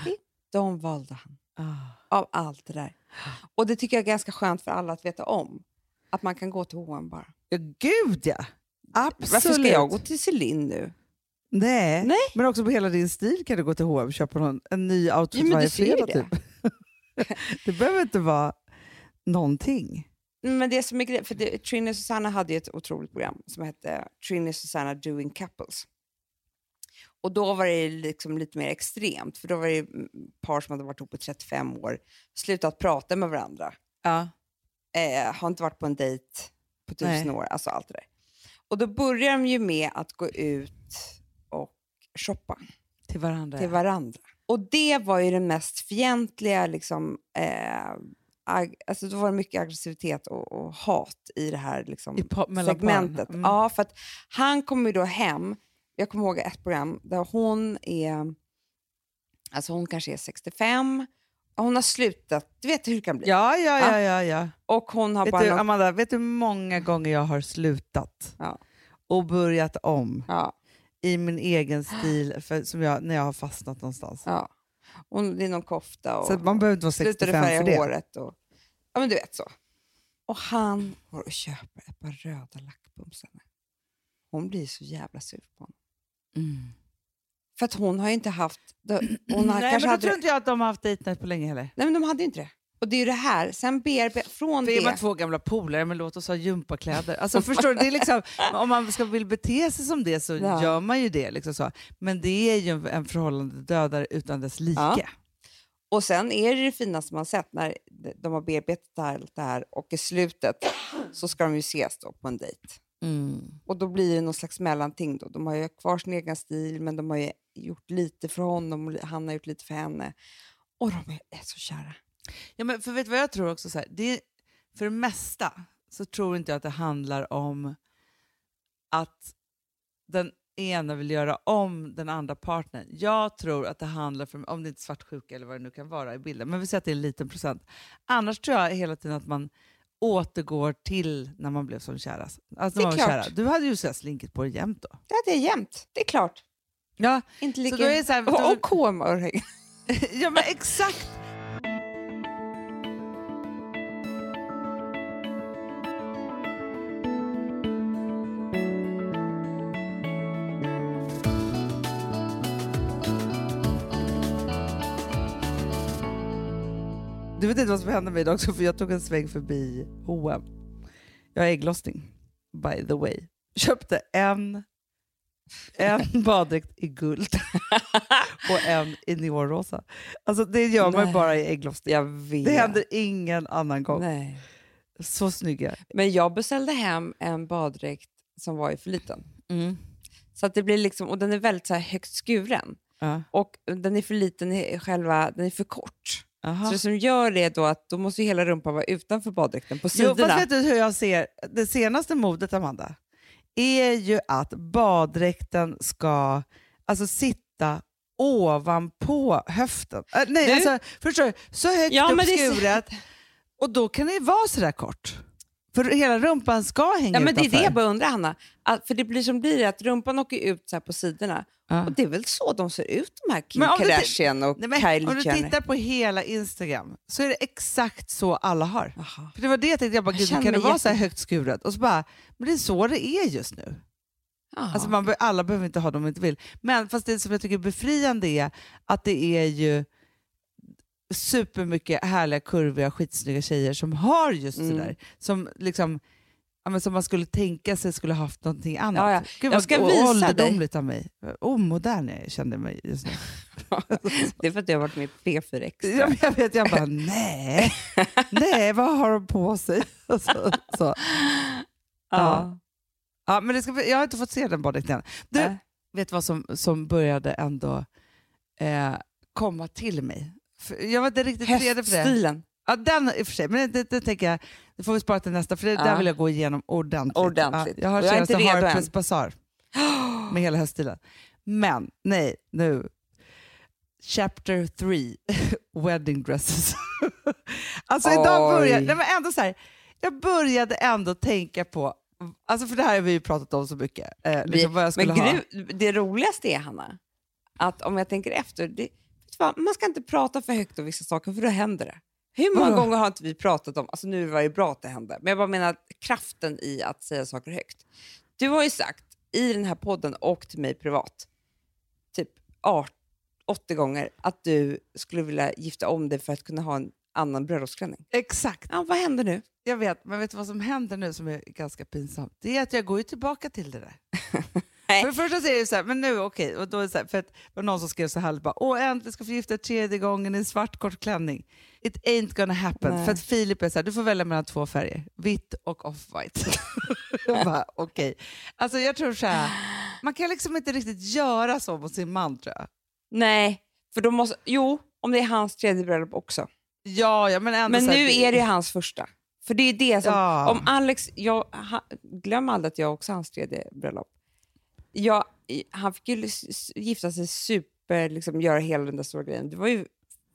De valde han,
Ah.
av allt det där. Och det tycker jag är ganska skönt för alla att veta om. Att man kan gå till H&M bara.
Ja, gud ja! Absolut.
Varför ska jag gå till Celine nu?
Nej.
Nej.
Men också på hela din stil kan du gå till H&M och köpa någon, en ny outfit
Ja, men du
varje
ser ju
fredag.
det.
Typ. det behöver inte vara någonting.
Mm, Men det som är grej, för det, Trini och Susanna hade ju ett otroligt program som hette Trini och Susanna Doing Couples. Och då var det liksom lite mer extremt, för då var det mm, par som hade varit ihop i 35 år, slutat prata med varandra,
Ja.
eh, har inte varit på en dejt på tusen
Nej.
år, alltså allt det där. Och då börjar de ju med att gå ut och shoppa
Till varandra.
till varandra. Eh. Och det var ju den mest fientliga, liksom, eh, ag- alltså då var det mycket aggressivitet och, och hat i det här liksom,
I pa- mellan
segmentet.
paren. Mm.
Ja, för att han kommer ju då hem, jag kommer ihåg ett program där hon är, alltså hon kanske är 65, hon har slutat, du vet hur det kan bli.
ja, ja, ja. ja, ja.
Och hon har
Vet
bara...
du,
någon-
Amanda, vet du hur många gånger jag har slutat
Ja.
och börjat om
ja,
i min egen stil för, som jag, när jag har fastnat någonstans?
ja. Hon, det är någon kofta och...
Så att man behöver inte vara 65
slutade
för det.
färga håret. Och, ja, men du vet så. Och han går och köper ett par röda lackbumsarna. Hon blir så jävla sur på honom. För att hon har ju inte haft... då- Hon har,
Nej, men
kanske
då
hade,
tror inte jag att de har haft date night på länge heller.
nej, men de hade ju inte det. Och det är ju det här, sen bearbe, från
Vi är bara
det...
två gamla polare, men låt oss ha gympakläder. Alltså, förstår du? Det är liksom, om man ska vill bete sig som det så
Ja.
gör man ju det. Liksom så. Men det är ju en- en förhållande dödare utan dess like.
Ja. Och sen är det det finaste man har sett när de har bearbetat det här, allt det här och i slutet så ska de ju ses då på en dejt. Och då blir det någon slags mellanting. Då. De har ju kvar sin egen stil, men de har ju gjort lite för honom och li- han har gjort lite för henne. Och de är- är så kära.
Ja, men för vet du vad jag tror också? Så här, det är, för det mesta så tror inte jag att det handlar om att den ena vill göra om den andra partnern. Jag tror att det handlar, för, om det inte är svartsjuka eller vad det nu kan vara i bilden, men vi säger att det är en liten procent. Annars tror jag hela tiden att man återgår till när man blev som kärast. Alltså
Det är
när man var
klart.
kära. Du hade ju så här slinkit på dig jämt då.
Ja, det är jämnt. Det är klart.
Ja,
Inte
så
lika...
då är det så här,
och och KM-örhängen.
ja men exakt. Du vet inte vad som hände mig idag också för jag tog en sväng förbi H&M. Jag har ägglossning, by the way. Köpte en, en baddräkt i guld och en i neonrosa. Alltså det gör man ju
Nej.
bara i ägglossning.
Jag vet.
Det händer ingen annan gång.
Nej.
Så snygga.
Men jag beställde hem en Mm. baddräkt som var ju för liten. Så att det blir liksom, och den är väldigt så här högt skuren.
Ja.
Och den är för liten i själva, den är för kort. Så
Aha.
det som gör det är då att då måste ju hela rumpan vara utanför baddräkten, på
Jo, fast
sidorna.
vet du hur jag ser det senaste modet, Amanda? är ju att baddräkten ska alltså, sitta ovanpå höften. Äh, nej,
Du?
alltså, förstår du? Så högt
Ja,
upp
men det är så-
skuret. Och då kan det ju vara sådär kort. För hela rumpan ska hänga
Ja, men det är
utanför.
det jag bara undrar, Hanna. Att, för det blir som blir att rumpan åker ut så här på sidorna.
Ja.
Och det är väl så de ser ut, de här Kim
Men om du ti-
Kardashian och
Nej, men, om
Kylie
du
Jenner.
tittar på hela Instagram så är det exakt så alla har.
Jaha.
För det var det jag tänkte, jag bara,
Jag
gud,
känner
kan det
mig
vara så här
jätte-
högt skuret? Och så bara, men det är så det är just nu.
Jaha.
Alltså man, be- alla behöver inte ha dem man inte vill. Men fast det som jag tycker är befriande är att det är ju supermycket härliga, kurviga, skitsnygga tjejer som har just
Mm.
det där. Som, liksom, ja, men som man skulle tänka sig skulle haft någonting annat.
Ja, ja.
Gud,
Jag
vad
ska
o-
visa dig.
ålderdomligt av mig. Omodern jag kände mig just nu.
det är för att jag har varit med i P4 Extra.
Ja, men jag vet, jag bara nej, nej, vad har de på sig? Alltså, så.
Ja. Äh,
Ja, men det ska, bli- jag har inte fått se den baddräkten än. Du,
Nej.
vet du vad som, som började ändå eh, komma till mig? För jag var inte riktigt redo för det.
Häststilen.
Ja, den i och för sig, men det, det tänker jag, det får vi spara till nästa, för det där
Ja.
vill jag gå igenom ordentligt.
Ordentligt.
Ja, jag har
Och jag är
senaste
inte redo än.
Harpers Bazaar med hela höststilen. Men nej, nu. Chapter 3, wedding dresses. alltså idag
Oj.
började, nej, men ändå så här, jag började ändå tänka på, alltså för det här har vi ju pratat om så mycket, eh, liksom vad jag skulle
men
ha.
gru- det roligaste är, Hanna, att om jag tänker efter, det, vet du vad, man ska inte prata för högt om vissa saker för då händer det. Hur många
Vadå?
gånger har inte vi pratat om, alltså nu var det bra att det hände, men jag bara menar kraften i att säga saker högt. Du har ju sagt i den här podden och till mig privat, typ art- 80 gånger, att du skulle vilja gifta om dig för att kunna ha en annan bröllopsklänning.
Exakt,
Ja, vad händer nu?
jag vet, men vet du vad som händer nu som är ganska pinsamt? Det är att jag går ju tillbaka till det där.
Nej.
För det första så är det ju så här, men nu okej, och då är det så här, för att det var någon som skrev så här, bara, åh äntligen ska vi gifta tredje gången i en svart kort klänning. It ain't gonna happen.
Nej.
För att Filip är så här, du får välja mellan två färger, vitt och off-white. jag bara, okej. Alltså jag tror så här, man kan liksom inte riktigt göra så mot sin man tror jag.
Nej, för då måste, jo, om det är hans tredje bröllop också.
Ja, ja men ändå
Men
så här,
nu är det ju hans första. För det är ju det som...
Ja.
Om Alex... Jag, ha, glöm aldrig att jag också har hans tredje bröllop. Jag, i- han fick ju s- s- gifta sig super... Liksom, göra hela den där stora grejen. Det var ju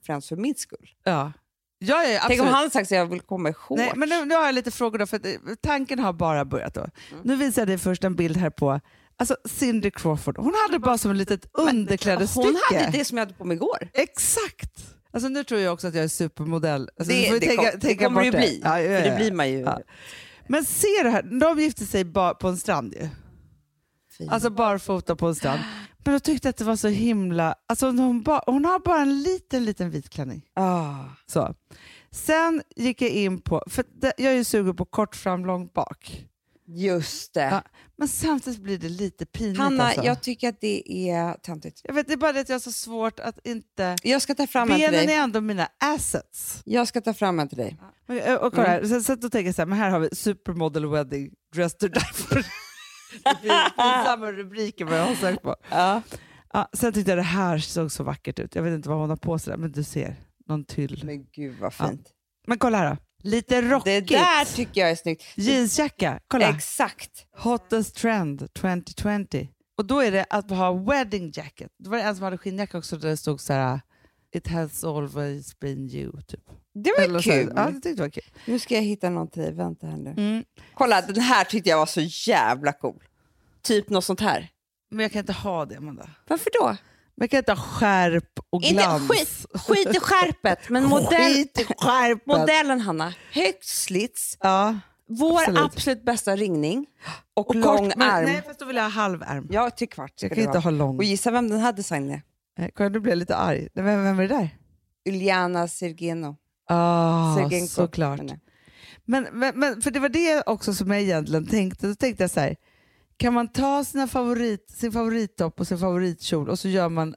främst för min skull.
Ja, ja, ja, ja absolut.
Tänk om han hade sagt att jag vill komma i shorts.
Nej, men nu, nu har jag lite frågor då, för att, eh, tanken har bara börjat då.
Mm.
Nu visar jag dig först en bild här på Alltså Cindy Crawford, hon hade bara som ett litet underklädesstycke.
Hon hade det som jag hade på mig igår.
Exakt! Alltså nu tror jag också att jag är supermodell. Alltså, du
Det,
får
det,
ju tänka-
kom, det
tänka
kommer det ju
bort
bli.
Ja, ja, ja.
För det blir man ju.
Ja. Men ser du här, de gifte sig ba- på en strand ju.
Fy.
Alltså barfota på en strand. Men jag tyckte att det var så himla... Alltså hon, ba- hon har bara en liten, liten vit klänning.
Ah.
Så. Sen gick jag in på, för det, jag är ju sugen på kort fram, långt bak.
Just det.
Ja, Men samtidigt blir det lite pinigt
Hanna,
alltså.
jag tycker att det är töntigt.
jag vet, det är bara det att jag har så svårt att inte...
Jag ska ta fram en till
Benen
dig.
är ändå mina assets. Mm.
Jag ska ta fram en till dig.
Men, ö, och kolla här, så, så att då tänker jag så här, men här har vi supermodel wedding, dress to die for. Det blir pinsamma rubriker vad jag har sökt på.
Ja.
Ja, sen tyckte jag det här såg så vackert ut. Jag vet inte vad hon har på sig där, men du ser. Någon tyll.
Men gud vad
Ja.
fint.
Men kolla här då. Lite
Det
rockigt.
där tycker jag är snyggt.
Jeansjacka. Kolla.
Exakt.
Hottest trend 2020. Och då är det att ha wedding jacket. Det var det en som hade skinnjacka också där det stod så här It has always been you. Typ.
Det var
Eller så här-
kul.
Ja, det tyckte jag var kul.
Nu ska jag hitta någon till dig. Vänta här nu.
Mm.
Kolla, den här tyckte jag var så jävla cool. Typ något sånt här.
Men jag kan inte ha det, Amanda.
Varför då?
Man kan inte ha skärp och glans.
Inte, skit, skit i skärpet, men modell,
Skit i skärpet.
modellen Hanna. Högt slits,
Ja.
vår
Absolut.
absolut, bästa ringning och,
Och
lång
kort, men,
arm.
Nej, fast då vill jag ha halvärm.
Ja, till kvart ska
jag kan
det
inte
vara.
ha lång.
Och gissa vem den här designen är?
Nej, Kolla, nu blir jag lite arg. Nej, Vem, vem är det där?
Uljana Sergeno.
Ah,
Sergenko,
såklart.
menar jag.
Men, men, men, för det var det också som jag egentligen tänkte. Då tänkte jag så här, kan man ta sina favorit, sin favorittopp och sin favoritkjol och så gör man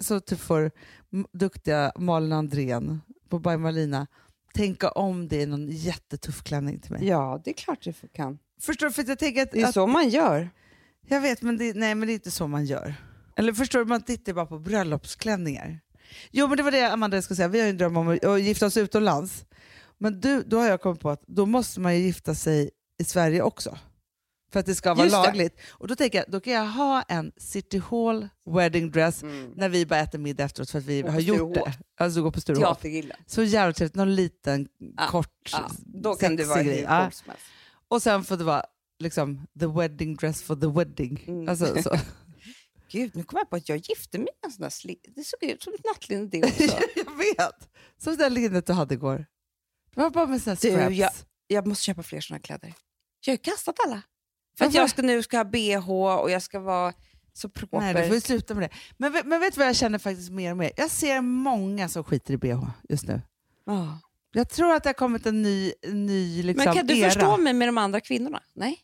så typ får m- duktiga Malin Andrén på By Malina tänka om det i någon jättetuff klänning till mig.
Ja, det är klart du får- kan.
Förstår du? För att jag tänker att,
Det är
att
så man gör.
jag vet, men det, nej, men det är inte så man gör. Eller förstår du, man tittar ju bara på bröllopsklänningar. Jo men det var det Amanda jag skulle säga, vi har ju en dröm om att- att gifta oss utomlands. Men du, då har jag kommit på att då måste man ju gifta sig i Sverige också. För att det ska vara
Just det.
lagligt. Och då tänker jag, då kan jag ha en City Hall wedding dress när vi bara äter middag efteråt för att vi
Gå
har
på
gjort
Sturehof.
det. Alltså gå på Sturehof.
Teatergrillen.
Så jävla trevligt, någon liten
Ja,
kort
Ja, då kan du
sexig
vara hur
grej. Ja.
cool som helst.
Och sen får det vara liksom the wedding dress for the wedding.
Mm.
Alltså, så.
Gud, nu kom jag på att jag gifte mig i en sån där sli- Det såg ut som ett nattlinne det också.
jag vet! Som det där linnet du hade igår. Det var bara med såna här
Du,
scraps.
jag- jag måste köpa fler såna kläder. Jag har ju kastat alla. För att
Varför?
jag ska, nu ska ha bh och jag ska vara så proper.
Nej, du får ju sluta med det. Men, ve- men vet du vad jag känner faktiskt mer och mer? Jag ser många som skiter i bh just nu.
Ja.
Jag tror att det har kommit en ny, en ny liksom,
Men kan du
era.
förstå mig med de andra kvinnorna? Nej.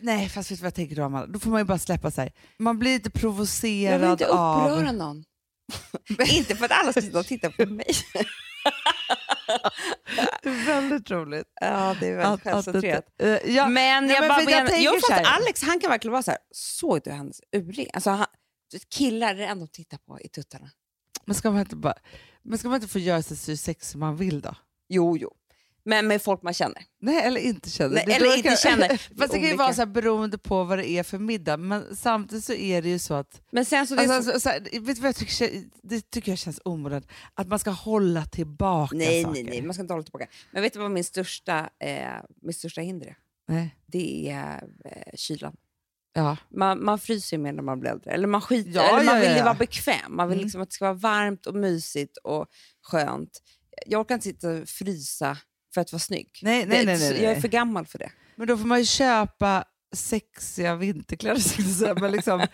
Nej, fast vet du vad jag tänker då, Amanda? Då får man ju bara släppa sig. Man blir lite
Jag
provocerad
vill inte
av...
uppröra någon. inte för att alla ska sitta och titta på mig.
Det är väldigt roligt.
ja, det är väldigt självcentrerat.
att- eh, ja,
Men
Nej,
jag
men
bara
för jag
menar,
tänker
jo,
så
för att
här.
Alex han kan verkligen vara så här, såg du hennes urring? Alltså, han, killar är det enda de tittar på i tuttarna.
men, ska man inte bara, men ska man inte få göra sig så sex som man vill då?
Jo, jo. Men med folk man känner.
Nej, eller inte känner.
Nej,
Det
eller
tror jag
inte
kan-
känner.
Fast det kan ju
Olika.
vara så här, beroende på vad det är för middag, men samtidigt så är det ju så att...
Men sen så... Det är
Alltså,
så-
alltså, så här, vet du vad jag tycker, det tycker jag känns omodernt, att man ska hålla tillbaka
nej,
saker.
nej, nej, man ska inte hålla tillbaka. Men vet du vad min största, eh, min största hinder är?
nej.
Det är eh, kylan.
Ja.
Man, man fryser ju mer när man blir äldre. Eller man skiter
Ja,
eller Man
ja, ja,
vill ju
ja.
vara bekväm. Man vill
Mm.
liksom att det ska vara varmt och mysigt och skönt. Jag orkar inte sitta och frysa för att vara snygg.
Nej, nej,
Det-
nej, nej, nej.
Jag är för gammal för det.
Men då får man ju köpa sexiga vinterkläder. skulle jag säga, Men liksom,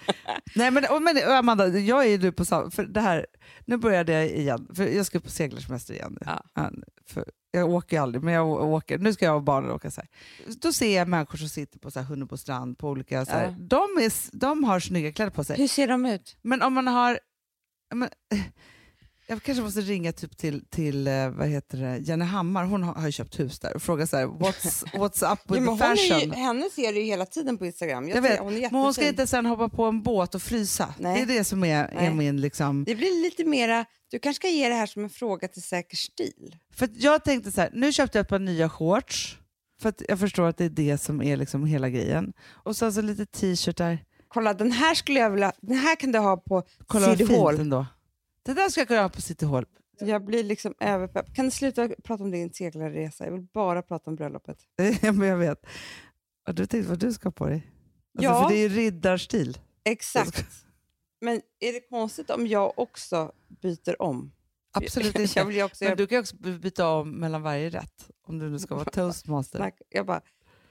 nej, men, och, men och Amanda, jag är ju nu på samma... För det här, nu började jag igen, för jag ska på seglarsemester igen.
Ja.
för, jag åker ju aldrig, men jag å- åker. nu ska jag och barnen åka. Så här. Då ser jag människor som sitter på så här, Hunnebo strand, på olika... Så här,
Ja.
de, är, s- de har snygga kläder på sig.
Hur ser de ut?
Men om man har... ja, Men, eh, jag kanske måste ringa typ till, till eh, vad heter det, Jenny Hammar, hon har, har ju köpt hus där, och fråga så här, what's, what's up with the fashion?
henne ser du ju hela tiden på Instagram.
Jag vet,
hon är
men hon ska inte sen hoppa på en båt och frysa.
Nej.
Det är det som är, är
Nej.
min... Liksom.
Det blir lite mera... Du kanske ska ge det här som en fråga till Säker stil.
För att jag tänkte så här, nu köpte jag ett par nya shorts. För att jag förstår att det är det som är liksom hela grejen. Och sen så alltså lite t-shirtar.
Kolla, den här skulle jag vilja... Den här kan du ha på
Kolla vad
City
fint
Hall.
ändå. Det där ska jag kunna ha på City Hall.
Jag blir liksom överpepp. Kan du sluta prata om din seglarresa? Jag vill bara prata om bröllopet.
men jag vet. Och du tänkte vad du ska ha på dig. Alltså,
Ja.
För det är ju riddarstil.
Exakt. Men är det konstigt om jag också byter om?
Absolut
Jag
inte.
vill ju också
Men
göra
du kan ju också byta om mellan varje rätt. Om du nu ska vara toastmaster.
snack. Jag bara,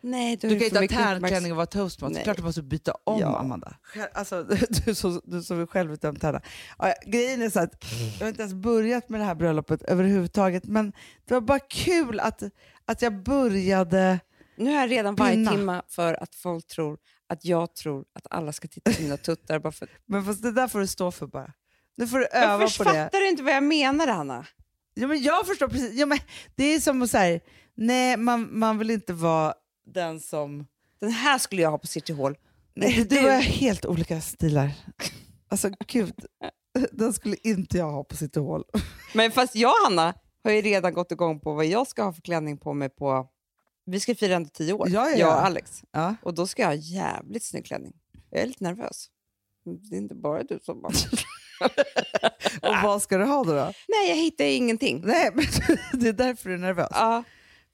nej, du,
Du kan
är
inte
för
ha
mycket
tärnklänning
uppmärksamhet.
och vara toastmaster.
Nej.
Klart du måste byta om,
Ja.
Amanda. Själv- Alltså, du är så, du är så självutdömd Hanna. Ja, ja, Grejen är så att jag har inte ens börjat med det här bröllopet överhuvudtaget, men det var bara kul att, att jag började.
Nu har jag redan varje
Pinna.
timme för att folk tror att jag tror att alla ska titta på mina tuttar. Bara för...
Men fast det där får du stå för bara. Nu får du öva
Jag
på det.
fattar du inte vad jag menar, Hanna.
Ja, men jag förstår precis. Ja, men det är som att så här, nej, man, man vill inte vara den som...
Den här skulle jag ha på City Hall.
Nej, du har helt olika stilar. Alltså gud, den skulle inte jag ha på sitt hål.
Men fast jag, Hanna, har ju redan gått igång på vad jag ska ha för klänning på mig på... Vi ska fira ändå tio år,
Ja, ja,
jag
ja.
och Alex.
Ja.
Och då ska jag ha jävligt snygg klänning. Jag är lite nervös. Det är inte bara du som bara...
Och vad ska du ha då? då?
Nej, jag hittar ingenting.
Nej, men det är därför du är nervös.
Ja,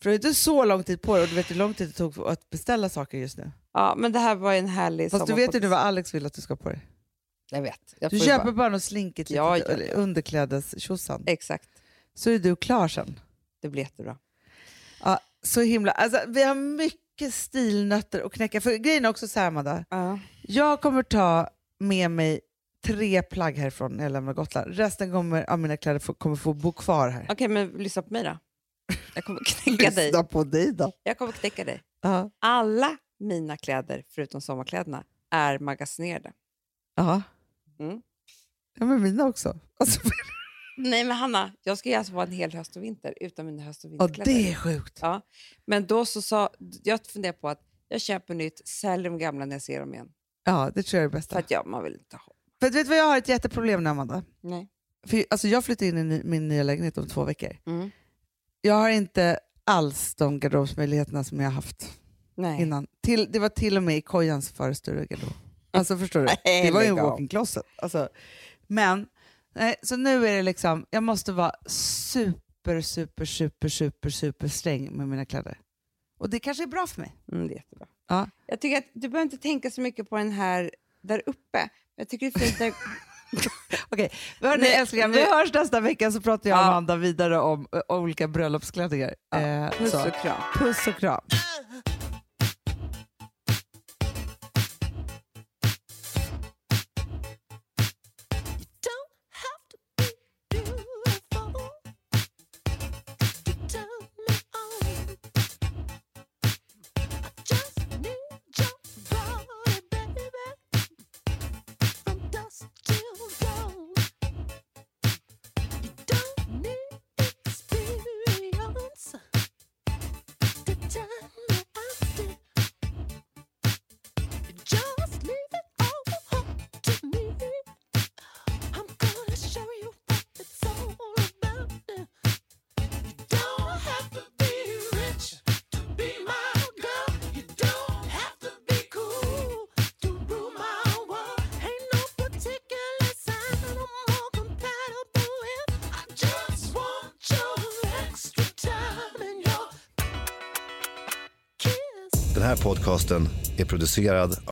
För du har inte så lång tid på dig och du vet hur lång tid det tog för att beställa saker just nu.
ja, men det här var ju en härlig
Fast du vet ju nu vad Alex vill att du ska ha på dig.
Jag vet. Jag
Du
får ju
köper
bara-
bara något slinkigt
Ja,
litet
ja,
eller underklädestjosan.
Exakt.
Så är du klar sen.
Det blir jättebra.
Ja, så himla... Alltså, vi har mycket stilnötter att knäcka. För grejen är också så här, Amanda.
Ja.
Jag kommer ta med mig tre plagg härifrån när jag lämnar Gotland. Resten kommer, av mina kläder få, kommer få bo kvar här.
Okej, men lyssna på mig då. Jag kommer knäcka dig.
på dig då.
Jag kommer knäcka dig.
Ja.
Alla mina kläder, förutom sommarkläderna, är magasinerade.
Ja.
Mm.
ja, men mina också. Alltså,
Nej, men Hanna, jag ska ju alltså vara en hel höst och vinter utan mina höst och
ja,
vinterkläder.
det är sjukt.
Ja, men då så sa... Jag funderar på att jag köper nytt, säljer de gamla när jag ser dem igen.
Ja, det tror jag är det
För
bästa.
att ja, man vill inte ha
För du vet vad jag har ett jätteproblem med Amanda?
Nej.
För, alltså, jag flyttar in i ny- min nya lägenhet om två veckor.
Mm.
Jag har inte alls de garderobsmöjligheterna som jag har haft
Nej.
innan. Till, det var till och med i kojan så var det större garderob. Alltså förstår du?
Nej,
Det var ju en
lägg av.
walk-in closet. Alltså, men nej, så nu är det liksom, jag måste vara super, super, super, super, super sträng med mina kläder. Och det kanske är bra för mig.
Mm, det är jättebra.
Ja.
Jag tycker att du behöver inte tänka så mycket på den här där uppe. Jag tycker det är fint när...
Hörni,
Nej,
älsklingar, vi
nu-
hörs nästa vecka så pratar jag och
Ja.
Amanda vidare om eh, olika bröllopsklänningar. Eh,
Puss
så.
och kram.
Puss och kram.
don't have to be beautiful to turn me on. I just need your body, baby, from dusk till dawn. You don't need experience to turn me on. You just leave it all up to me. I'm gonna show you what it's all about. You don't have to be rich to be my girl. You don't have to be cool to rule my world. Ain't no particular sign that I'm more compatible with. I just want your extra time and your kiss.
Den här podcasten är producerad